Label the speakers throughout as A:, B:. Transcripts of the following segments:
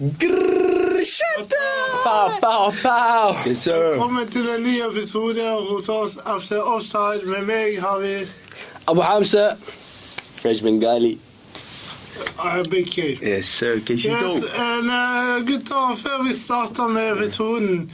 A: Grrr, shut up!
B: Pow, pow, pow.
A: Yes, sir.
C: Velkommen til en ny episode hos oss FC Offside. Med meg har vi
B: Abu Hamza.
D: Fresh Bengali.
C: Arabic Cage.
A: Yes, sir. Case you
C: Yes,
A: dope.
C: and, eh, gutter, før vi starter med episoden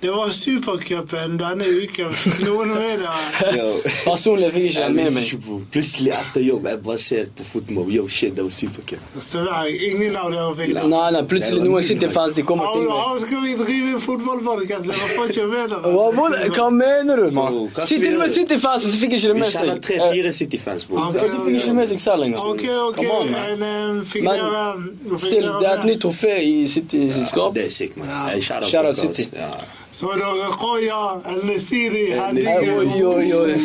C: Det var Supercupen denne uken. Fikk Noen med dere?
D: Yo.
B: Personlig fikk jeg ikke
D: Jeg
B: den med
D: visste
B: meg.
D: ikke hvor- Plutselig etter jobb, jeg bare ser på fotball. Yo, shit, det var supercup.
C: Så nei, ingen av dere fikk det.
B: Nei, nei, plutselig noen sitter fans, de kommer til
C: Alle
B: meg.
C: alle skal vi drive en fotballpodkast? Dere får ikke med dere.
B: Hva, hvor- hva mener du, mann?
D: Jo, hva
B: Shit, Til og med
D: spiller du?
B: City-fansen de fikk ikke det
D: Vi
B: med seg.
D: kjenner
B: Eh,
D: tre-fire City-fans, bror.
C: Ja,
B: De fikk ikke det med seg selv engang.
C: OK, OK.
B: Come on, man.
C: en, eh, fikk
B: Men,
C: dere- fikk
B: Still,
C: dere
B: det er et
C: med?
B: nytt trofé i City sitt skap.
D: Det er sykt, man.
C: Ja.
D: Eh, Shout out
B: Shout out
D: til oss.
B: City.
D: Ja.
C: Så dere Koya, El-Nesiri,
D: El
B: Eh, Oi, oi, oi.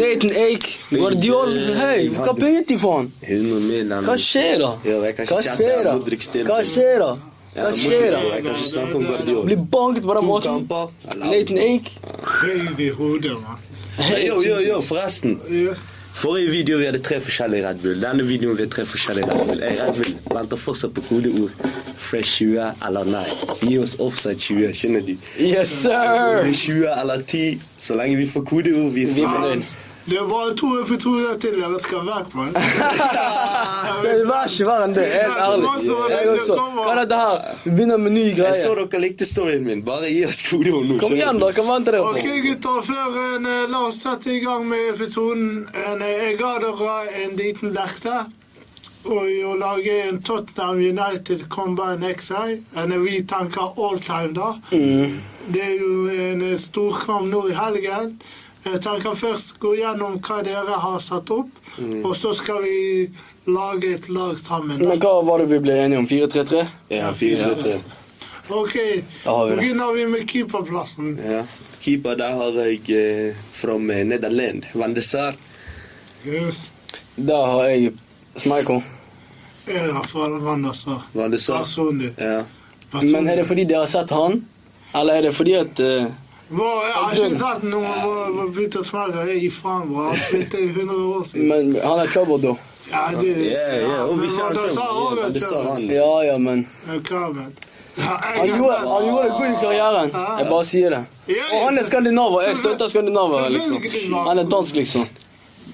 B: Nathan Ake, Guardiol, hei, hva begynte de faen?
D: 100 mil. han-
B: Hva skjer da?
D: Yo, jeg kan ikke
B: Hva
D: chatte,
B: skjer da?
D: Modric stiller.
B: Hva skjer da?
D: Ja,
B: Hva
D: Modric,
B: skjer da?
D: Jeg kan ikke snakke om Guardiol.
B: Blir banket på den
D: To
B: måten.
D: kamper.
B: Nathan Ake.
C: Crazy hode, mann.
D: Hey, Yo, yo, yo, forresten.
C: Yes.
D: Forrige video vi hadde tre forskjellige Red Bull. Denne videoen vi har tre forskjellige Red Bull. Hey, Red Bull venter fortsatt på kodeord Fresh 20 eller nei. Gi oss offside 20, skjønner de.
B: Yes, sir!
D: 20 eller 10, så lenge vi får kodeord, vi
B: Vi er fornøyd.
C: Det er bare to episoder til dere skal vekk, mann.
B: Det var ikke verre enn det, helt ærlig. Jeg også. Hva er dette her? Vi begynner med ny
D: Jeg så
B: greie.
D: dere likte storyen min. Bare gi oss kodeord nå.
B: Kom igjen, da. Hva venter dere
C: Ok,
B: på?
C: gutter. Før en, eh, la oss sette i gang med episoden. En, eh, jeg ga dere en liten lekse. Og i å lage en Tottenham United Combine XI. En eh, vi tenker all time, da.
B: Mm.
C: Det er jo en eh, storkamp nå i helgen. Jeg tenker først gå gjennom hva dere har satt opp,
B: Mm.
C: og så skal vi lage et lag sammen. da.
B: Men hva var det vi ble enige om? 4-3-3?
D: Ja, fire minutter.
C: Ok,
B: Da har vi det.
C: begynner vi med keeperplassen.
D: Ja. Keeper, der har jeg eh, fra Nederland. Van de Sar.
C: Yes.
B: Der har jeg Smeiko.
C: Jeg er fra Alvand, altså.
D: Van de Sar.
C: Personlig.
D: Ja.
B: Men er det fordi dere har sett han? Eller er det fordi at eh,
C: Hva, jeg har ikke sett noe hva- hva Peter Smager er i faen, bro. Han spilte i 100 år siden.
B: Men han er trouble, da.
C: Ja, det
D: Ja, oh, ja, og vi
C: men
D: ser
C: hva
D: han
C: da
D: selv.
C: sa
D: Ja, Van de Sar,
C: han,
D: han.
B: Ja ja, men
C: vet du. Hva, men?
D: Ah,
B: Han gjorde, han gjorde det godt i karrieren. Jeg bare sier det. Og han er skandinaver. Jeg støtter skandinaver, liksom. Han er dansk, liksom.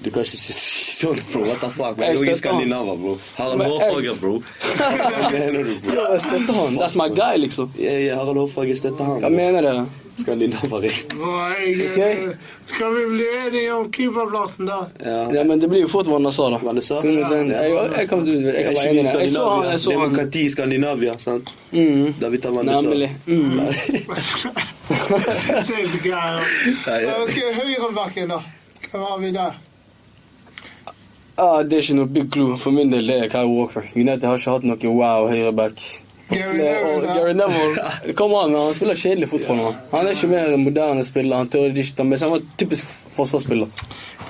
D: Du kan ikke si sånn, bro. What the
B: Jeg
D: fuck? Men jeg er
B: støtter han.
D: skandinaver, bro. Harald
B: Men jeg-
D: Hårfagre, bro. Hva mener du, bro?
B: Ja, Jeg støtter han. That's my guy, liksom.
D: Ja, ja, Harald Hårfagre støtter han.
B: Hva mener dere?
D: bro. Skandinaver, jeg.
C: Hva, jeg,
B: Ok.
C: Skal vi bli enige om keeperplassen, da?
D: Ja.
B: Ja, men det blir jo fort hva han sa, da.
D: Van de Sar.
B: Jeg, jeg, kan, jeg kan være enig i det. Jeg så han, jeg så han.
D: Demokrati i Skandinavia, sant?
B: Mhm.
D: Da vi tar Van de Sar.
B: Nemlig. Mm.
C: Det er litt greier.
D: Ja, Ah, ja.
C: Ok, høyrebacken, da. Hvem har vi der?
B: Ah, det er ikke noe big clue. For min del det er Kyle Walker. United har ikke hatt noe wow høyreback. på
C: Gary
B: flere år.
D: oh,
C: Neville,
D: Ne-
B: Gary Neville Kom an, han spiller kjedelig fotball nå. Han er ikke mer en moderne spiller. Han tør ikke ta med seg. Han var typisk forsvarsspiller.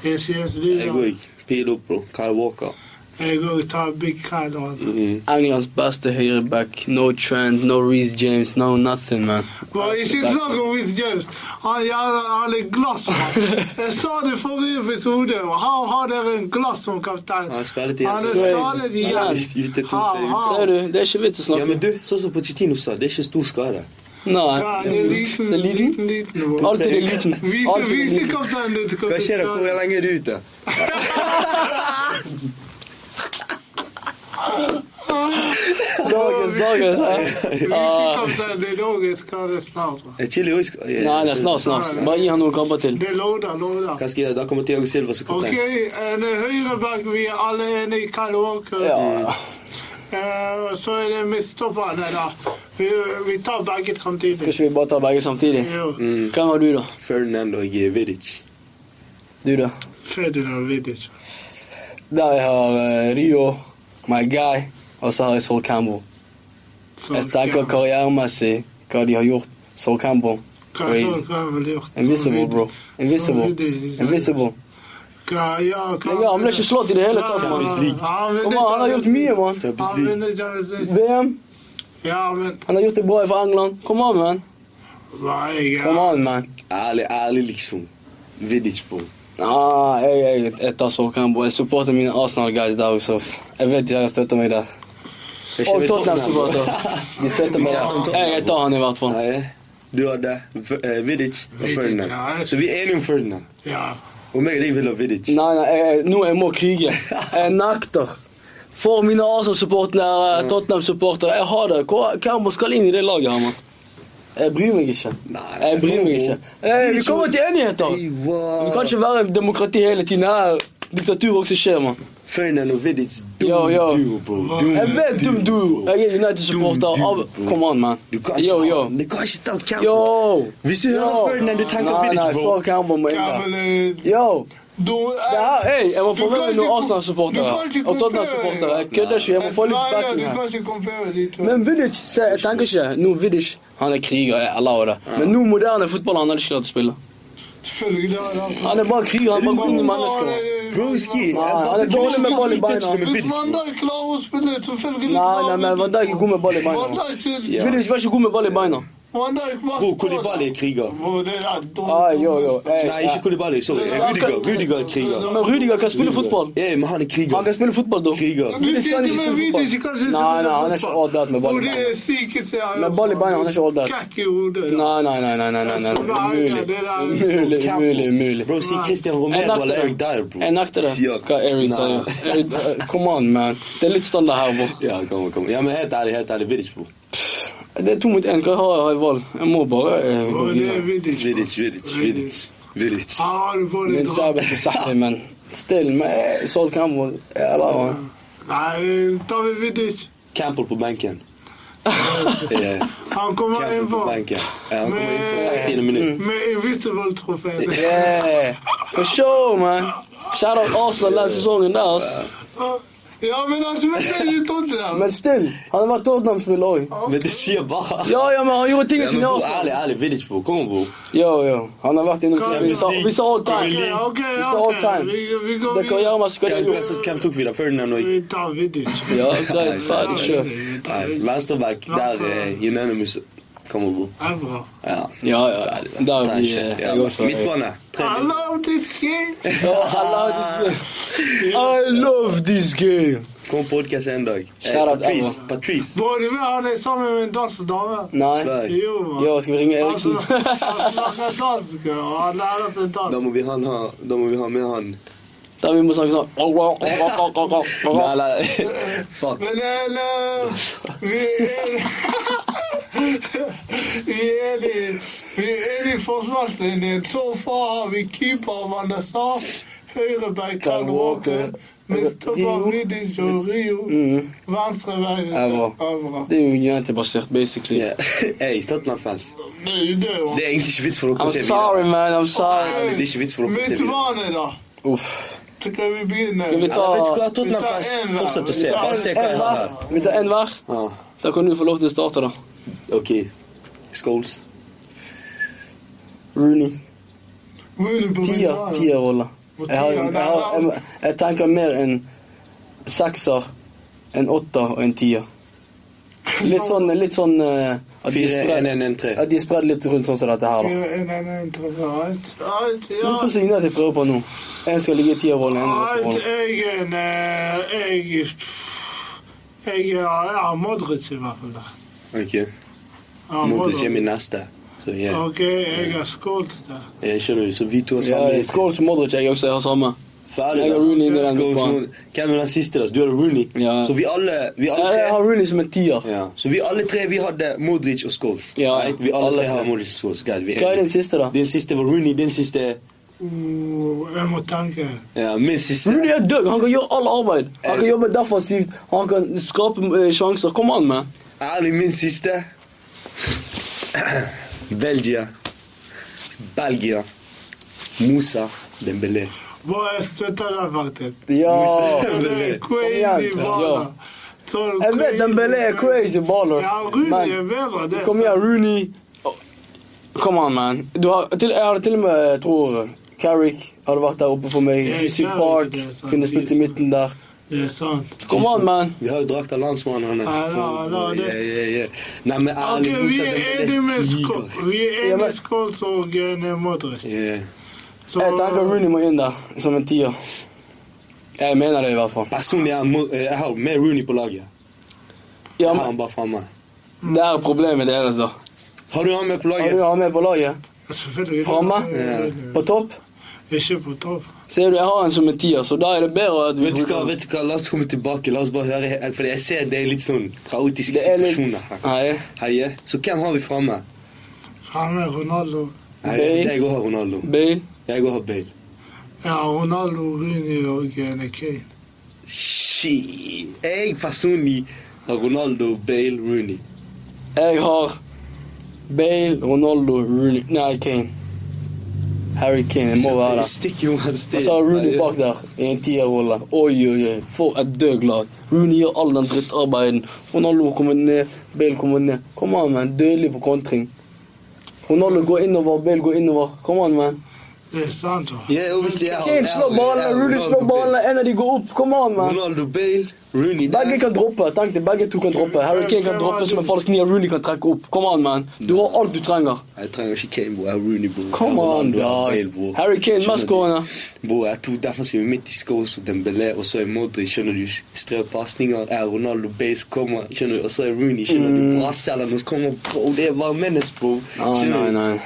C: Yes, yes, du,
D: Jeg
C: da.
D: òg. Pil opp, bro. Kyle Walker.
C: Jeg går og tar Big Kyle og han.
D: Mhm.
B: Englands beste høyreback. No Trent, no Reece James, no nothing, man.
C: Bare ikke snakk om Wiz Jones. Han jævla han er glass. mann. Jeg sa det i forrige episode. og Her har dere en glass som kaptein.
D: Han er skadet igjen.
C: Han er
D: så-
C: skadet
D: Han er
C: igjen. Ha,
D: ute to-tre
C: ha.
D: uker.
B: Ser du, det er ikke vits å
D: Ja,
B: snakke
D: men du, sånn som Pochettino sa, det er ikke stor skade.
B: Nei.
C: Ja, det er liten,
B: Det er liten.
C: liten, liten. mann.
B: Alltid er liten.
C: Vise,
B: Alltid er
C: vise
B: liten.
C: kapteinen din.
D: Hva skjer da? Hvor lenge er du ute?
B: Dagens, dagens. ja.
C: Vise kapteinen din òg er skadet snart. mann.
D: Er Chile også sk- Eh,
B: Nei, nei, snart, snart. Bare gi han noen kamper til.
C: Det er loader, loader.
D: Hva skal jeg gjøre? Da kommer Thiago Silva som
C: Ok,
D: kaptein.
C: en høyreback vi er alle enige i Kyle Walker.
B: Ja.
C: Eh, så er det midtstopperne, da. Vi, vi tar begge
B: Skal
C: samtidig.
B: ikke vi bare ta begge samtidig?
C: Jo.
D: Mm.
B: Hvem har du, da?
D: Ferdinand og eh, Vidic.
B: Du, da?
C: Ferdinand Vidic.
B: Der jeg har eh, Rio, my guy, og så har jeg Sol Campbell.
C: Så-
B: Jeg tenker karrieremessig hva de har gjort. Sol Campbell.
C: Hva så hva har vi gjort?
B: Invisible, bro. Invisible. Invisible.
C: Hva, ja, hva
B: Men ja, han ble ikke slått i det hele tatt, mann.
D: Champions League.
B: Kom an, Han har gjort mye, mann.
D: Champions
C: Han
D: League.
C: vinner Champions League.
B: VM.
C: Ja, men
B: Han har gjort det bra for England. Kom an, man.
C: Nei, jeg
B: Kom
C: er
B: an, man.
D: Ærlig, ærlig, liksom. Vidic, bro.
B: Ah, jeg, jeg, jeg tar Sol Campbell. Jeg supporter mine Arsenal-guys der også. Jeg vet de har støtter meg der.
D: Jag
B: Och
D: känner
B: Tottenham-supporter. Det stötte mig. Jag jag tar han i vart fall.
D: Nej, du hade eh, Vidic och
C: Vidic, ja,
D: Ferdinand.
C: just
D: Så vi är eniga om Ferdinand.
C: Ja.
D: Och mig och dig vill ha Vidic.
B: Nej, nej, jeg, nå jeg må krige. Jeg nekter. For mine Arsenal-supportere, Tottenham-supportere. Jeg har det. Hva- Hvem skal inn i det laget her, mann? Jeg bryr meg ikke.
D: Nei,
B: Jeg bryr meg ikke. Eh, vi kommer til enigheter.
D: Hey,
B: Vi
D: wow.
B: kan ikke være demokrati hele tiden. Her diktatur også skjer, mann.
D: Ferdinand och Vidic, dum
B: Yo, yo.
D: duo bro.
B: Jeg vet dum du. Jeg er United-supporter.
D: Dum, dum,
B: Av- Come on, man.
D: Du kan
B: Yo,
D: inte
B: yo.
D: ta- du kan inte ta kampen.
B: Yo.
D: Visst är det
B: Yo.
D: Ferdinand du tankar
B: Nei,
D: Vidic,
B: nei,
D: bro?
B: fuck ham og meg.
C: Ja,
B: da.
C: men eh,
B: Yo.
C: du
B: Det her,
C: är...
B: hey, jeg må
C: Du
B: få
C: kan
B: med noen
C: ikke kom- du
B: Arsenal-supportere
C: kan ikke
B: og Tottenham-supportere. Jeg kødder ikke. Jeg må få litt
C: Sverige,
B: backing
C: du
B: her.
C: kan ikke kompare de to.
B: Men Vidic, se, jeg tenker ikke Nå Vidic, han er kriger, jeg lover det. Men nå moderne fotball, han hadde ikke klart å spille.
C: Selvfølgelig har han...
B: Han er bare kriger, han er bare går inn i mennesker.
D: Broski,
B: Nej, han är dålig med boll i benen.
C: Hvis Van Dijk klarer å spille, selvfølgelig
B: Nei,
C: klarer
B: nei, men Van Dijk er god med ball i
C: Van
B: beina.
C: Dijk til...
D: Ja.
B: Vidic var ikke god med ball i beina.
C: Van Dijk var
D: Bro, Koulibaly är krigare.
C: Bro, det er dumt.
B: Ah, jo, jo, ey,
D: Nej, inte Nou, Koulibaly, sorry.
C: Ja.
D: Rudiger, Rudiger är krigare.
B: Men Rudiger kan spille fotball.
D: Ja, men han är
B: Han
D: krigare.
B: kan spille fotball, da.
D: Krigare.
C: Du
B: Vidic
C: sier
B: kan
C: til
B: ikke
C: meg
B: spille fotball.
C: Vidic kanskje
B: Nei, nei, han er ikke all that med ball i
C: Bro, det
B: beina.
C: er sykeste jeg har
B: Med ball i beina, han er ikke all that.
C: Kakk i hodet.
B: Nei, nei, nei, nei, nei, nei, nei, umulig. Umulig, umulig, umulig.
D: Bro, se Christian
B: Jeg
D: Romero eller Eric
B: nekter
D: Dyer
B: det. Jeg
D: bro.
B: nekter det.
D: Siak.
B: Hva E Eric
D: Nei.
B: Dyer? Eric Dyer, Come on, man. Det er litt standard her, bro.
D: Ja, kom, kom. Ja, men helt ärligt, helt ärligt. Vidic bro.
B: Det er to mot én. Hva har jeg i valg? Jeg må bare eh, gå
C: Bro, det
B: videre.
C: er Vidic.
D: Vidic, Vidic, Vidic. Vidic.
B: Ah.
C: Han har det på
B: من
C: det bra.
B: ثابت صاحبي من ستيل ما سول كامبل الله
C: Nei, tar vi Vidic.
D: Campbell på bänken. Ja,
C: Han kommer
D: Campbell på
C: innpå.
D: bänken. Ja, han kommer in på 60 minut.
C: Med Invisible-trofeen.
B: yeah E, for sure man shout out Arsenal last season där alltså
C: Ja, men han spiller i Tottenham.
B: men still han var Tottenham spelare oj
D: Men du ser bara.
B: Mm. ja ja men han gjorde ting i
D: Ja, men
B: sin
D: bro,
B: Arsenal
D: ärligt, ärligt. Vidic bro. Kom bro.
B: jo jo han har varit inne på vi sa vi sa all
C: Okej,
B: time
C: okej,
B: vi sa all
C: okej.
B: time
C: Vi, vi går
B: det kan
C: vidare.
B: göra man skulle ha gjort
D: Kan du tog Ferdinand och
C: Vi tar Vidic.
B: ja grejt fan kör
C: Vi tar
D: Nej,
C: Vidic.
D: vänsterback, där är eh, unanimous. Kommer bro.
C: Det er bra.
D: Ja.
B: ja ja där
D: Tack,
B: vi
D: shit.
B: eh,
D: Ja,
B: jag går för
D: Mittbana. Tre
C: Alla om ditt skit.
B: Ja, I love this game I love this game
D: Kom podcast en dag. Eh,
B: Shout out
D: Patrice,
B: Emma.
D: Patrice.
C: Både vi han är sammen med en dansk dame.
B: nej
D: Sverige.
C: Jo, man.
B: Ja, ska vi ringa Eriksson?
C: Han snakker dansk, og han lærer seg
D: Då
C: dansk.
D: må vi han ha, då må vi ha med han.
B: Där vi måste snacka oh,
D: Med
B: såhär.
D: alla... Fuck.
C: Men eller Vi er Vi er i Vi er i forsvarslinjen. Så far har vi keeper Van der Sar, høyreback Kyle Walker, midtstopper Vidic og Rio, venstreback
B: Evra.
C: Evra.
B: Det är ju United-baserat basically.
D: Ja. Ey, Tottenham-fans.
C: Det er jo det, man.
D: Det är inte vits för att
B: I'm
D: se
B: sorry man, I'm sorry.
D: Det är inte vits för att se vidare.
C: Midtbane, da.
B: Uff.
C: Skal vi begynne?
B: Ska vi ta-
D: Alla, Vet du vad?
C: Vi tar
D: Tottenham-fans,
C: en va?
D: fortsätt att
C: Vi
D: se.
C: tar
D: Bara
C: en-
D: se vad
B: En
D: jag
B: var?
D: har. Ah,
B: Vi tar en var.
D: Ja,
B: Da kan du få lov til å starte, da.
D: Okej. Scholes.
B: Rooney.
C: Rooney på
B: Tier.
C: midtbane.
B: Tierrolle. Jeg, har- jeg, har- jeg, jeg tenker mer en sekser, en åtter og en tier. Litt sånn, litt sånn eh, at, de er
D: 4, 1,
B: spredd,
D: 1, 1, 3.
B: at de er spredd litt rundt sånn som dette her, da.
C: Ja, en, en, en, tre, right. Right, ja.
B: Litt sånn som United prøver på nå. En skal ligge i tierrollen, en i
C: Right,
B: åtterrollen.
C: jeg er en eh, Jeg Jeg er ja, Modric i hvert fall. da.
D: Okej.
C: Ja,
D: Modric är min nästa. Så ja.
C: euh, Ok, jeg er skålt der.
D: Jag känner ju, så vi två
B: Ja,
D: samlar
B: Skål som Modric, jeg også. Jeg har samme.
D: För alla.
B: Jag har Rooney in i den
D: Scholes,
B: gruppen.
D: Rooney. Cameron Sisters, du har Rooney.
B: Ja.
D: Så vi alla, vi alla
B: Jeg,
D: tre.
B: jeg har Rooney som en tier.
D: Ja. Så vi alla tre vi hade Modric och Scholes.
B: Ja.
D: Right? Vi alla,
B: Alla
D: tre
B: tre.
D: har Modric och Scholes. Guys, vi
B: Hva er din siste, da?
D: Din sista var Rooney, din sista...
C: Uh, jeg må tenke.
D: Ja, min sista...
B: Rooney er død. Han kan gjøre all arbeid. Han kan jobbe defensivt. Han kan skape eh, sjanser. Kom an, man.
D: Ærlig, min sista... Belgia. Belgia. Moussa Dembélé.
C: Hvor jeg støtter deg, faktisk.
B: Ja.
C: Det er
B: Kom
C: crazy
B: igjen,
C: baller.
B: ja.
C: Så
B: Jeg vet Dembélé
C: euh,
B: er crazy baller.
C: Ja, Rooney er
B: Men
C: bedre. det er
B: kom igjen, Rooney. Oh, Kom an, man. Du har, til, jeg hadde til og med, jeg tror Carrick hadde vært der oppe for meg.
C: Ja,
B: Jussi
C: Carrick,
B: Park
C: det er sant.
B: kunne spilt i midten der.
C: sant. Det er sant.
B: Kom an, man.
D: Vi har jo drakt av landsmannen hans.
C: Ja, ja, ja, det-
D: Ja, ja, ja. Nei, men
C: Ok,
D: ærlig,
C: vi
D: Moussa
C: er
D: Dembélé
C: enige med
D: kriger.
C: Skål- vi er
B: Ja,
C: enige
B: men-
C: med Skåls og eh, Modric.
D: Ja.
C: Så
B: Jeg tenker Rooney må inn der som en tier. Jeg mener det i hvert fall.
D: eh, Personlig, jeg, må, jeg har med Rooney på laget.
B: Ja,
D: Han
B: men
D: bara fan man.
B: det er problemet deres, da.
D: Har du han med på
B: Har du
D: laget?
B: han med på laget?
C: Selvfølgelig.
B: Framme?
C: Eh,
B: På topp?
C: Ikke på topp.
B: Ser du, jeg har en som en tier, så da er det bedre at vi
D: Vet du hva, vet du hva, la oss komme tilbake. La oss bare høre. he- For jeg ser det er litt sånn kaotiske
B: Det er litt
D: situasjoner her.
B: Nei.
D: Heie. Så hvem har vi framme?
C: Framme Ronaldo.
D: Heie.
B: Bale.
D: Jeg går har Ronaldo.
B: Bale.
D: Jeg går har Bale.
C: Ja, Ronaldo, Rooney og eh, Kane.
D: Shit. Jeg personlig har Ronaldo, Bale, Rooney.
B: Jeg har Bale, Ronaldo, Rooney Nei, Kane. Harry Kane. Det må være det.
D: Stikk Johan,
B: Og
D: stikk.
B: så har Rooney
D: Heie.
B: bak der i en tierrolle. Oi, oi, oi. For et døglag. Rooney gjør all den drittarbeidet. Ronaldo kommer ned, Bale kommer ned. Kom an, man. Dødelig på kontring. Ronaldo går innover, Bale går innover. Kom an, man.
C: Det er sant. da.
D: Ja, obviously, jeg har-
B: Kane
D: jeg har-
B: slår
D: jeg har
B: ballene, Rooney
D: Ronaldo,
B: slår
D: Bale.
B: ballene. En av de går opp. Kom an, man.
D: Ronaldo, Bale, Rooney der.
B: Begge kan droppe. Tenk deg, begge to kan droppe. Harry Kane kan droppe som en falsk nier. Rooney kan trekke opp. Kom an, man. Du har alt du trenger.
D: Jeg trenger ikke Kane, bro. Jeg har Rooney, bro.
B: Come
D: Jeg
B: on,
D: har Ronaldo, jeg har
B: dog.
D: Bale, bro.
B: Harry Kane,
D: Skjønner
B: mest
D: du?
B: gående.
D: Bro, jeg tok defensiven midt i skås og Dembélé, og så er Modric, skjønner du, strø pasninger. Jeg har Ronaldo, Bale som kommer, skjønner du, og så er Rooney, skjønner du,
B: Mm.
D: brasselen hans kommer, bro. Det er bare menace, bro.
B: Nei,
D: Skjønner
B: nei,
D: du?
B: nei.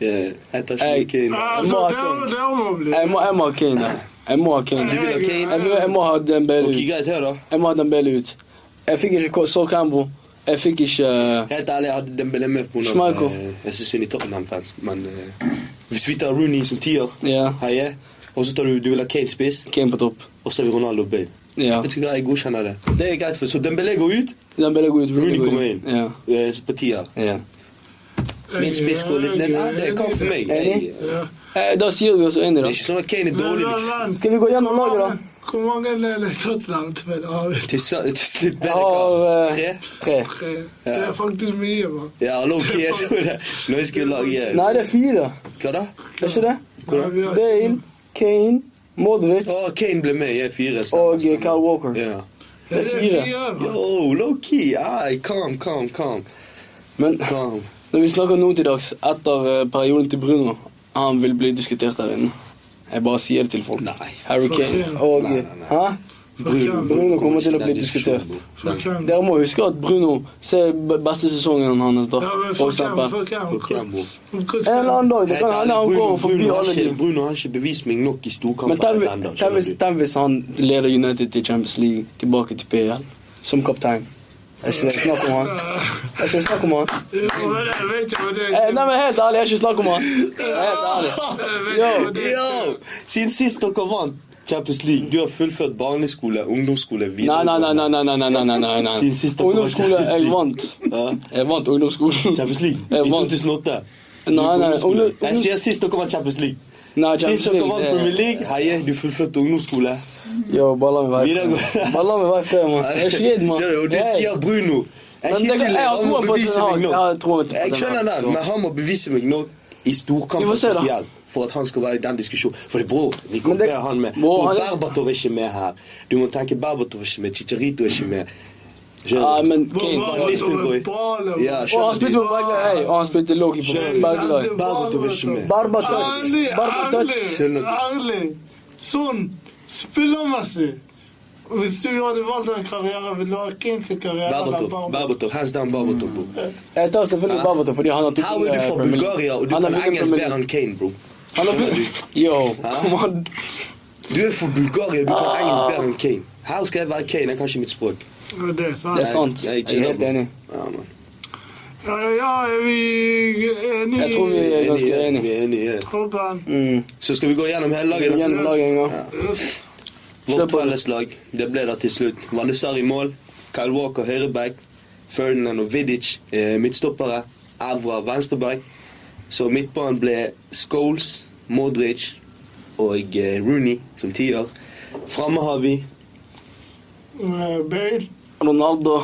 D: Ja, Jeg tar
B: Hey. Ah.
D: ikke Kane.
C: Altså,
B: må ha
C: det
B: Kane.
C: det må bli.
B: Jeg må, jeg må ha Kane. jeg. Jeg må ha Kane.
D: Du vil ha Kane?
B: Jeg, vil, jeg må ha Dembele
D: Ok,
B: ut.
D: greit, hør da.
B: Jeg må ha Dembele ut. Jeg fikk ikke Ko- så Cambo. Jeg fikk ikke eh,
D: Helt ærlig, jeg hadde Dembélé med på grunn av
B: Schmeichel.
D: eh, Jeg synes hun er Tottenham-fans, men eh, hvis vi tar Rooney som tier,
B: Ja.
D: heie, og så tar du, du vil ha Kane spiss,
B: Kane på topp.
D: og så har vi Ronaldo, Bale.
B: Ja.
D: Vet du hva, jeg godkjenner det. Det er greit for Så Dembélé går ut,
B: Dembele går ut.
D: Rooney
B: går
D: kommer
B: ut.
D: inn.
B: Ja.
D: Eh, så På tier.
B: Ja.
D: Min spiss går litt ned. Nei, det kan for meg. Jeg,
B: Enig?
D: det
C: Ja.
B: Eh, Da sier vi oss inn i
D: er
B: det.
D: ikke sånn at Kane er
C: Men,
D: dårlig,
C: men,
D: liksom.
C: men,
B: Skal vi gå gjennom laget, da?
C: Hvor mange er det Tottenham-spillere har vi?
D: Til, sa- til slutt ble det hva?
B: Av
D: Tre?
B: eh, tre.
C: Tre. Det er faktisk mye, mann.
D: Ja, hallo, ok, jeg tror det. Når jeg skulle lage eh,
B: Nei, det er fire.
D: Hva da?
B: Er ikke det?
C: Nei, vi har-
B: Bale, Kane, Modric
D: Å, Kane ble med. Jeg er fire. så-
B: og eh, Kyle Walker.
D: Ja.
C: Det er fire. mann.
D: Yo, low-key. Ai, calm, calm, calm.
B: Men
D: calm.
B: Når vi snakker nå til dags, etter eh, perioden til Bruno Han vil bli diskutert her inne. Jeg bare sier det til folk.
D: Nei.
B: Harry
C: For
B: Kane
C: hvem?
B: og
D: Nei, nei, nei.
B: Hæ?
C: Bruno
B: kommer til å
D: den
B: bli
D: diskusjonen,
B: diskutert.
D: bro.
C: For hvem?
B: Dere må huske at Bruno ser b- beste sesongen hans, da.
C: Ja, men
B: For
C: for hvem?
B: eksempel.
C: For hvem?
D: For hvem, bro?
C: Hvor-
B: En eller annen dag. Det
D: Helt
B: kan hende
D: ærlig,
B: han
D: Bruno-
B: går forbi
D: Bruno har
B: alle
D: ikke-
B: de
D: Bruno har ikke bevist meg nok i
B: Men
D: storkamper
B: tenk vi-
D: ennå.
B: tenk hvis- tenk hvis han leder United til Champions League, tilbake til PL, som kaptein. Er ikke det snakk om han? Er ikke det snakk om han?
C: Ja, men jeg vet jo det.
B: Eh, Nei, men helt ærlig, er ikke det snakk om han? Helt ærlig. Yo,
D: Yo! Siden sist dere vant Champions League, du har fullført barneskole, ungdomsskole,
B: Nei, nei, nei,
D: videregående.
B: nei, nei, nei, nei, nei, nei, nei.
D: Siden sist dere var
B: Ungdomsskole, jeg
D: Champions
B: vant.
D: Ja.
B: Jeg vant ungdomsskolen.
D: Champions League
B: Jeg
D: i
B: vant.
D: 2008.
B: Nei, nei,
D: Ungdomsskole.
B: ungdom-
D: Jeg sier sist dere vant Champions League.
B: Nei,
D: Sist
B: Champions
D: dere
B: League.
D: vant
B: det-
D: Premier League, heie, du fullførte ungdomsskole.
B: Yo, bare la meg være
D: Videregående.
B: fred. Bare la meg være fred, mann. Jeg er ikke redd, mann.
D: Skjønner du, og Det
B: Hey.
D: sier Bruno.
B: Men
D: sier
B: det-
D: til deg,
B: jeg har
D: han må
B: troen på
D: bevise
B: Ten Hag.
D: meg nå.
B: Jeg har troen på Ten
D: Jeg
B: Hag.
D: skjønner det,
B: Så-
D: men han må bevise meg nå i
B: Vi
D: storkampen
B: får se, da.
D: spesielt. For at han skal være i den diskusjonen. For det, bror, vi
B: Men det-
D: kombinerer han med.
B: Bror,
D: Bror,
B: han-
D: Berbatov er ikke med her. Du må tenke Berbatov er ikke med, Chicharito er ikke
B: Nei,
D: med. Skjønner du?
B: men
C: Hvor
B: Kane
C: var
B: kom.
C: det
D: Listen, boy.
C: ballen?
D: Ja,
B: Og han
D: skjønner
B: spilte på begge hey, og han spilte lowkey på
D: Skjønner
B: begge lag.
D: Berbatov er ikke med.
B: Berbatov.
C: Ærlig,
B: Berbatov.
C: ærlig,
D: Skjønner.
C: ærlig. Sånn spillermessig. Hvis du hadde valgt en karriere, ville du ha Kane sin karriere? eller
D: Berbatov,
C: Berbatov?
D: Berbatov, hands down Berbatov, bror.
B: Jeg tar selvfølgelig Berbatov fordi han har to
D: Her er du
B: eh,
D: fra
B: Premier League.
D: Bulgaria, og du
B: Han har
D: kan
B: vunnet
D: engelsk
B: Premier
D: bedre enn Kane, bro.
B: League. Han har vunnet- Yo, kom an.
D: Du er fra Bulgaria, du
B: Ah.
D: kan engelsk bedre enn Kane. Her skal jeg være Kane, jeg kan ikke mitt språk.
C: Ja, Det er sant.
B: Det er sant.
D: Jeg- jeg
B: Jeg er helt
D: chiller,
B: enig.
D: bro. Ja, man.
C: Ja, ja, er vi enige
B: Jeg tror vi
C: i
B: er ganske
D: Enige,
B: enige.
D: vi er enige.
C: troppen?
B: Mm.
D: Så skal vi gå gjennom hele laget, da?
B: Gjennom laget en gang.
D: Vårt
B: Kjør på.
D: felleslag, det ble da til slutt. Vanessar i mål. Kyle Walker høyreback. Ferdinand og Vidic eh, midtstoppere. Avra venstreback. Så midtbanen ble Scholes, Modric og eh, Rooney som tier. Framme har vi
C: Med Bale?
B: Ronaldo.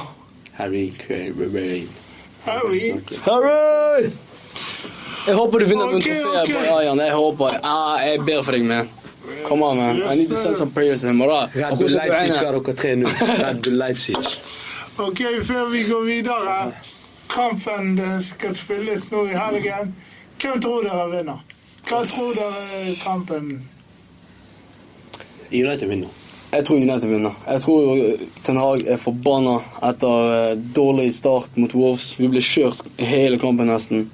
D: Harry Kane. אוקיי,
C: Harry?
B: Harry! Jeg håper du vinner
C: Ok,
B: okay, trofeet
C: ok.
B: på Ayan. Jeg håper det. Ah, jeg ber for deg, man. Come on, man. I need to send some prayers to him. Bra.
D: Red
B: Akkurat
D: Bull
B: som
D: Leipzig
B: Bruyne.
D: har dere tre nå. Red Bull Leipzig.
C: Ok, før vi går videre. Kampen det skal spilles nå i helgen. Hvem tror dere אה, vinner? Hva tror dere er kampen?
D: United vinner.
B: Jeg tror United vinner. Jeg tror eh, Ten Hag er forbanna etter eh, dårlig start mot Wolves. Vi ble kjørt hele kampen nesten.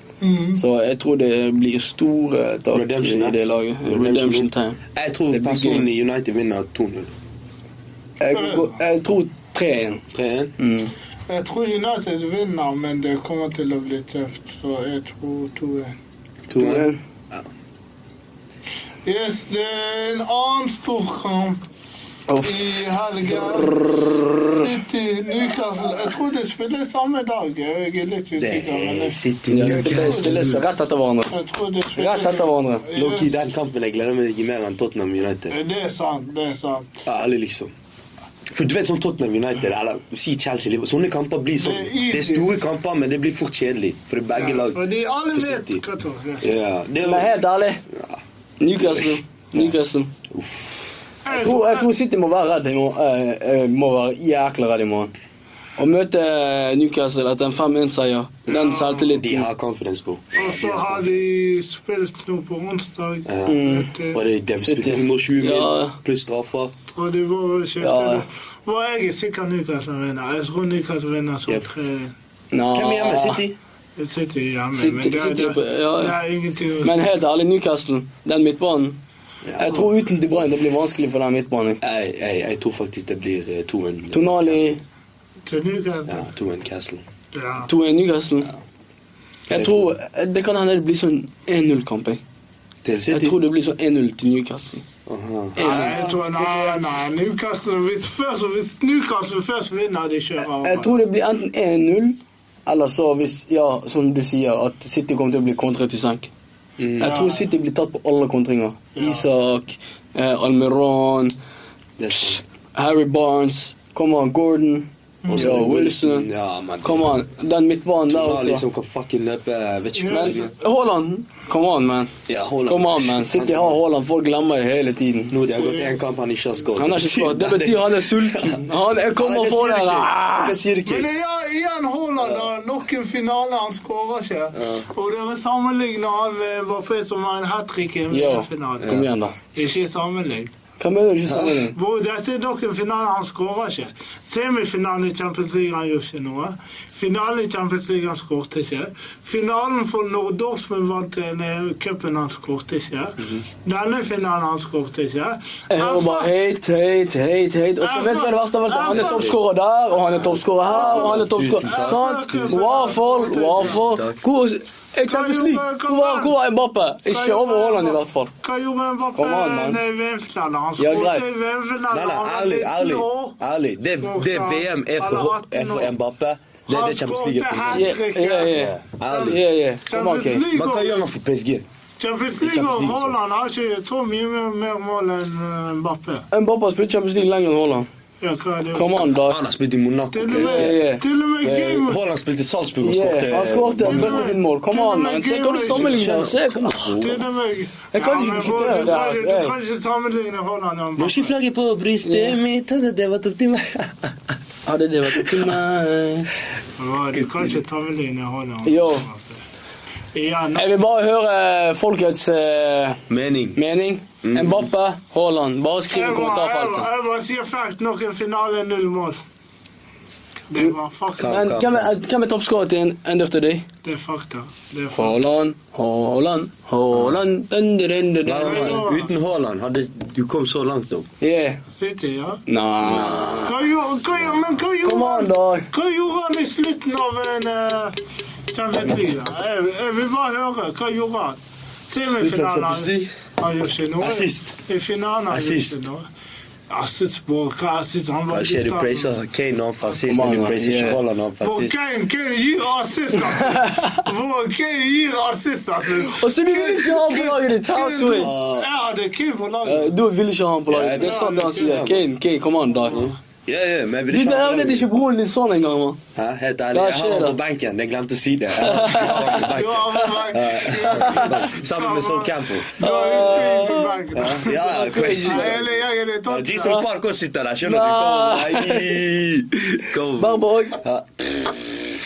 B: Så jeg tror det blir store tak
D: Redemption,
B: i
D: ja.
B: det laget. Redemption time.
D: Jeg
B: Det
D: tror
B: blir
D: personlig United vinner 2-0.
B: Jeg, kan gå- jeg tror 3-1.
D: 3-1.
B: Mm.
C: Jeg tror United vinner, men det kommer til å bli tøft, så jeg tror 2-1.
D: 2-1.
B: 2-1.
C: Yes, det er en annen storkamp
B: Uff.
C: i helgen. City, Newcastle. Jeg tror de spiller samme dag. Jeg er litt
D: Det
C: usikker, men
D: er
C: jeg,
D: City
B: Ja, de
D: Newcastle.
B: stiller- stiller seg rett etter hverandre.
C: jeg tror de spiller
B: Rett etter hverandre.
D: Loki,
C: Yes,
D: den kampen jeg gleder meg ikke mer enn Tottenham United.
C: Eh, det er sant, det er sant.
D: Ja, alle liksom. For du vet sånn Tottenham United eller si Chelsea Liverpool, Sånne kamper blir sånn.
C: Det er easy.
D: Det er store kamper, men det blir fort kjedelig. For det er begge lag.
C: Fordi alle
D: for
C: vet
D: City.
C: hva som skjer.
D: Ja, det
B: Men
D: er
B: helt ærlig Newcastle. Newcastle. Jeg tror, jeg tror City må være redd i morgen. Eh, eh, må være jækla redd i morgen. Å møte eh, Newcastle etter en 5-1-seier, den
D: Ah, De
B: selvtilliten
D: har confidence, bro.
C: Og så har de spilt nå på onsdag. eh,
D: Ja.
C: Vet
D: Og
C: du.
D: det er de spilte 120 mil
B: Ja.
D: pluss straffer.
C: Og de var
B: Ja.
C: skiftet. Og jeg er sikker Newcastle vinner. Jeg tror Newcastle vinner som
D: Yep.
C: tre
B: Nå.
D: Hvem er hjemme? City?
C: Jeg sitter hjemme,
B: Sitter-
C: men det er,
B: sitter på-
C: det,
B: ja, ja.
C: det er ingenting å
B: Men helt ærlig, Newcastle, den midtbanen Jeg tror uten De Bruyne det blir vanskelig for den midtbanen.
D: Jeg, jeg, jeg tror faktisk det blir eh, 2-1.
B: Tonali,
C: Til Newcastle.
D: Ja, 2-1 Castle.
C: Ja.
B: 2-1 Newcastle. Jeg tror Det kan hende det blir sånn 1-0-kamp. jeg.
D: Til
B: Jeg
D: City?
B: tror det blir sånn 1-0 til Newcastle.
D: Aha.
C: Nei, jeg tror, nei, nei, Newcastle hvis, først, hvis Newcastle først vinner, de kjører over.
B: Jeg tror det blir enten 1-0, eller så hvis, ja, som du sier, at City kommer til å bli kontret i senk.
D: Mm.
B: Jeg tror City blir tatt på alle kontringer.
C: Ja.
B: Isak, eh, Almiron,
D: Det er sånn. sant.
B: Harry Barnes, come on, Gordon, ja, Wilson.
D: Mm. Ja, men
B: Come on, den midtbanen der
D: Tonali
B: også.
D: som kan liksom fucking løpe eh, vet ikke
C: Yes.
D: hvordan-
B: Men Haaland, come on, man.
D: Ja, Haaland.
B: Come on, man. City har Haaland, folk glemmer det hele tiden.
D: Nå det har gått én kamp han ikke har skåret.
B: Han har ikke skåret. Det betyr han er sulten. Han jeg
D: Nei,
B: kommer på
D: det sier du
B: der.
D: ikke.
B: ah!
D: Det sier du
C: Men
D: ikke.
C: det er igjen Haaland. da. Nok en finale, han skårer ikke. Og dere sammenligner han med Mbappé som har en hat trick i en
B: Ja,
C: finale.
B: kom igjen, da.
C: Ikke sammenlign.
B: Hva mener du ikke sammenlign?
C: Bro, dette er nok en finale, han skårer ikke. Semifinalen i Champions League, han gjorde ikke noe. Finalen i Champions League, han skåret ikke. Finalen for når nou Dortmund vant eh, cupen, han skåret ikke.
D: Mhm.
C: Denne finalen, han skåret ikke.
D: Eh,
B: Jeg hører bare hate, hate, hate, hate. Og så vet du hva det verste av alt? er? Han er toppskårer der, og han er toppskårer her, og han er
D: Tusen
B: toppskårer
D: takk.
B: Sant? Hvorfor? Hvorfor? Hvor er Champions League? Hvor var, hvor var Mbappe? Ikke over Haaland, i hvert fall.
C: Hva gjorde Mbappé e
B: Kom an, mann.
C: i VM-finalen? Han
B: Ja,
C: skåret
D: greit.
C: i VM-finalen,
D: Nei, nei,
C: han var
D: ærlig,
C: 19
D: ærlig.
C: år.
D: ærlig. Det, det VM er for, er for Mbappé. Det er
C: Han
D: det Champions
C: skåret
D: League er for.
C: hat
B: Ja,
C: trick.
B: ja, ja.
D: Ærlig.
B: Ja, ja. Kom an, Kay.
D: Men hva gjør han for PSG?
C: Champions League og
D: Champions League, så.
C: Haaland har ikke så mye mer, mer mål enn eh, Mbappé.
B: Mbappe har spilt Champions League lenger enn Haaland.
C: Ja, hva er det?
B: Kom an, da.
D: Han har spilt i Monaco.
C: Til og
D: PSG.
C: med,
B: Ja, ja.
C: til og med
D: Eh,
C: Game
D: Haaland spilte i Salzburg og
B: Yeah, han skåret
D: skåret eh,
B: et bøttefinmål. Kom an, man. Se hva du sammenligner. Se hva
C: Til og med
B: Jeg kan ikke
C: men
B: sitte
C: bro, du
B: her,
C: kan-
B: der,
C: Du
B: jeg.
C: kan ikke sammenligne Haaland og Mbappé.
D: Norskflagget på brystet mitt, det var topp til meg.
B: Hadde det vært opp til meg
C: Bro, Du kan ikke sammenligne Haaland og
B: Yo.
C: Mbappé. Igjen,
B: Jeg vil bare høre folkets eh,
D: Mening.
B: mening. Mbappe, Haaland. Bare skriv i
C: jeg bare- jeg
B: kommentarfeltet.
C: bare- jeg bare sier fact nok en finale null mål. Det var fakta.
B: Men hvem er, hvem er toppskårer til en- end of the day?
C: Det er fakta. Det er fakta.
B: Haaland, Haaland, Haaland dun, dun, dun, dun,
D: Nei,
B: dun.
D: nei, nei. Uten Haaland hadde du kom så langt opp.
B: Yeah.
C: City, ja.
B: Nah.
C: Hva gjorde, hva gjorde, men hva
B: Kom
C: gjorde
B: an,
C: han?
B: da.
C: Hva gjorde han i slutten av en eh, Champions League? da? Jeg, jeg vil bare høre. Hva gjorde han? Semifinalen. Han gjorde ikke noe.
D: Assist.
C: I finalen han gjorde
D: Assist.
C: ikke noe. Assist, bror. Hva assist? Han var
D: Kanskje du
C: ute av-
D: praiser Kane nå for sist, men
B: Come
D: du
B: on,
D: praiser
B: yeah.
D: ikke Haaland nå for
C: Bror,
D: sist.
C: Kane Kane gir assist, altså. Bror, Kane gir assist, altså.
B: Og så du vil ikke ha han på laget ditt! How sweet.
C: Jeg hadde Kane på
B: Eh,
C: laget.
B: Du vil ikke ha han på laget. Det er sant Mm. det han sier. Kane, Kane, kom an, da.
D: Ja, ja, men jeg
B: Du
D: vil ikke ha
B: nevnte er ikke broren din sånn engang, mann.
D: Hæ, Helt ærlig,
B: Hva
D: jeg har
B: skjer
D: han
B: da?
D: på benken. Jeg glemte å si det. Jeg har han på
C: Du har
D: benken. Sammen med Sol Campo.
C: Du har utbygging på benken.
D: Ja, crazy.
C: Nei, jeg er- jeg er litt
D: Ja,
C: opptatt.
D: Jason Park også sitter der, skjønner du? Kom, nei, Kom.
B: Berborg.
D: Ja.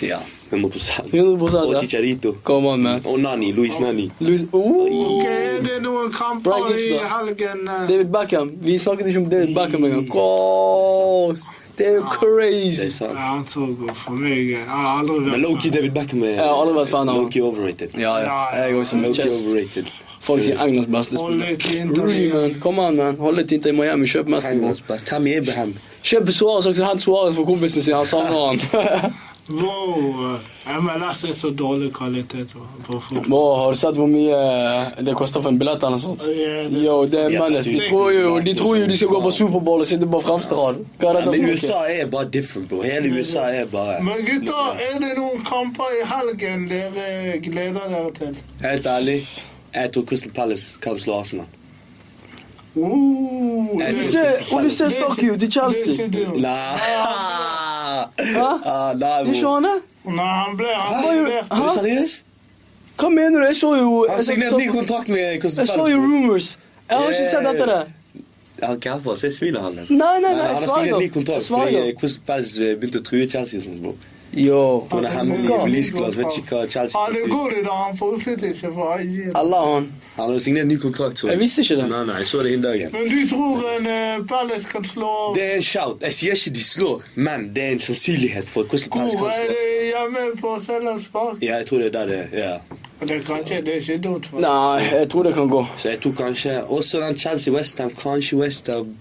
D: Ja. 100%.
B: 100%
D: Og
B: ja.
D: Oh, Chicharito.
B: Come on, man.
D: Og Nani. Luis Nani.
B: Louis, oh.
C: Ok, er Eh, det noen kamper
B: Braggings
C: i
B: da.
C: helgen? eh?
B: David Beckham. Vi snakket ikke om David Beckham engang. Kås! Det er jo
D: Det er
B: crazy.
C: Ja,
D: sant.
C: han så god for meg. Jeg har aldri
D: Men
C: vært
D: Loki David Beckham er
B: Jeg har aldri vært fan av ham.
D: Loki overrated.
B: Ja, ja. Jeg er også med
D: Loki
B: Chest.
D: overrated.
B: Folk sier Englands beste spiller.
C: Holde til Inter
B: Rooney, man.
C: Miami.
B: Come on, man. Holde til til Miami. Kjøp Messi. man.
D: Tammy Abraham.
B: Kjøp Suárez også. Hent Suárez for kompisen sin. Han savner han.
C: Wow, eh, MLS er så dårlig kvalitet på, på fotball.
B: Bro, har du sett hvor mye eh, det koster for en billett eller noe sånt?
C: Ja, det-
B: Yo, det er
D: Ja,
B: mennes. De
D: det-
B: tror jo de, tror jo de skal gå på Superbowl og sitte på fremste rad. Hva er Mm. dette
D: Ja, men
B: for
D: USA
B: noe?
D: er bare different, bro. Hele USA er bare
C: Men gutter, er det noen kamper i helgen dere gleder dere til?
D: Helt ærlig, jeg tror Crystal Palace kan slå Arsenal.
C: Uh,
D: Jeg
C: det-
B: Se, Olise stakk jo til
C: det er
B: Chelsea.
C: ikke du.
D: Nei
B: Hæ?
D: Ah, Nei,
B: Du ikke
D: bro.
B: han eh? det?
C: Nei, han ble han
B: Hva gjør-
C: ble-
D: Er du seriøs?
B: Hva mener du? Jeg så jo
D: Han
B: Jeg så,
D: signerte ny kontrakt med Crystal
B: jeg så
D: Palace.
B: jo
D: bro.
B: rumors. Jeg har ikke sett dette. der.
D: Han kapper, se smilet hans.
B: Nei, nei, nei,
D: Han
B: jeg
D: har signert ny
B: sverger. Jeg
D: kontrakt fordi
B: sverger.
D: Crystal Palace eh, begynte å true Chelsea. og sånt, bro.
B: Yo.
D: På det hemmelige
C: Han-
D: release-glass, vet ikke hva Chelsea
C: Han er
D: fikk.
C: god i dag, han fortsetter ikke for IG.
B: Allah han.
D: Han har jo signert ny kontrakt. Så.
B: Jeg visste ikke det.
D: Nei, nei, jeg så det hele dagen.
C: Men du tror en eh, Palace kan slå
D: Det er en shout. Jeg sier ikke de slår, men det er en sannsynlighet for at Crystal Palace
C: Hvor
D: kan
C: er
D: slå.
C: det hjemme på Sellands Park?
D: Ja, jeg tror det er der det ja.
C: Det er kanskje, det er ikke dumt. for-
B: Nei, jeg tror det kan gå.
D: Så jeg tror kanskje også den Chelsea-Westham. Kanskje Westham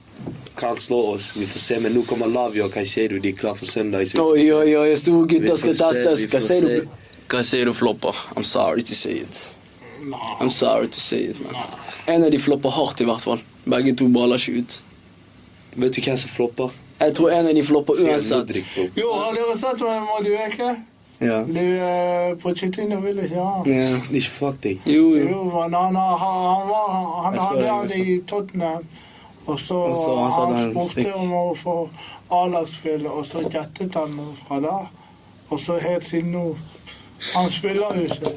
D: kan slå oss. Vi får se. Men nå kommer Lavio og Caicedo. De er klar for søndag. Så
B: Oi, oi, oi, store gutter skal
D: Vi får se,
B: testes.
D: vi
B: Hva
D: får
B: sier
D: se.
B: du? Hva sier du, flopper? I'm sorry to say it.
C: Nei.
B: I'm sorry to say it, man. En av de flopper hardt, i hvert fall. Begge to baller ikke ut.
D: vet du hvem som flopper?
B: Jeg tror en av de flopper
D: Sier
B: uansett.
D: Modric, bro.
C: Jo, har dere sett hva Madueke?
B: Ja.
C: Du, eh, Pochettino ville ikke ha han.
B: Ja.
D: Ikke fuck deg.
B: Jo, jo.
C: Jo, men han, har- han, var, han
B: Jeg så
C: hadde
B: det,
C: han
B: jeg
C: i Tottenham. Og så,
B: Og så han
C: han,
B: satte han
C: spurte
B: stikk.
C: om å få A-lagsspill, og så gjettet han fra da. Og så helt siden nå. Han spiller jo ikke.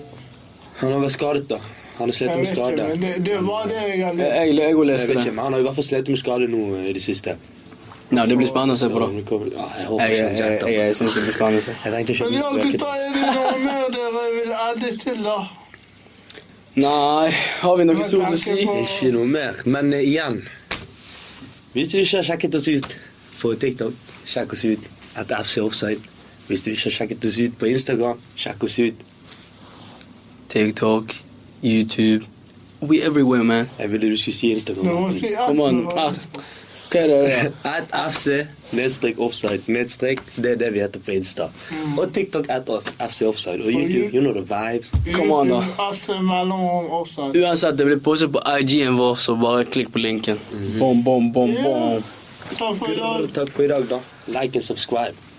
D: Han har vært skadet, da. Han har slitt
C: Jeg
D: med
C: vet ikke,
D: skade.
C: men det, det var det jeg har lest.
B: Jeg, jeg, jeg
D: Jeg
B: leste
D: vet ikke,
B: det.
D: men Han har i hvert fall slitt med skade nå eh, i det siste.
B: Nei, det blir spennende å se på, da.
D: Ja, jeg håper
B: Jeg,
D: ikke
B: jeg,
D: han
B: jeg,
D: jetter.
B: jeg, synes det blir spennende å se.
D: Jeg tenkte ikke
C: Men ja, gutta, er det noe mer dere vil adde til, da?
B: Nei, har vi noe
C: Jeg
B: stort å
C: tenker
B: si?
C: på-
D: Ikke noe mer. Men eh, igjen Hvis du ikke har sjekket oss ut på TikTok, sjekk oss ut etter FC Offside. Hvis du ikke har sjekket oss ut på Instagram, sjekk oss ut.
B: TikTok, YouTube. We everywhere, man.
D: Jeg ville du skulle si Instagram.
C: Du må si
B: Come on. Ah, Hva er det der?
D: At FC nedstrek offside nedstrek, det er det vi heter på Insta. Og TikTok etter FC Offside. Mm. Og YouTube, you know the vibes.
B: Come on, da.
C: Asse mellom offside.
B: Uansett, det blir postet på IG-en vår, så bare klikk på linken. Bom, bom, bom, bom.
C: Yes. Takk for i dag.
D: Takk for i dag, da. Like and subscribe.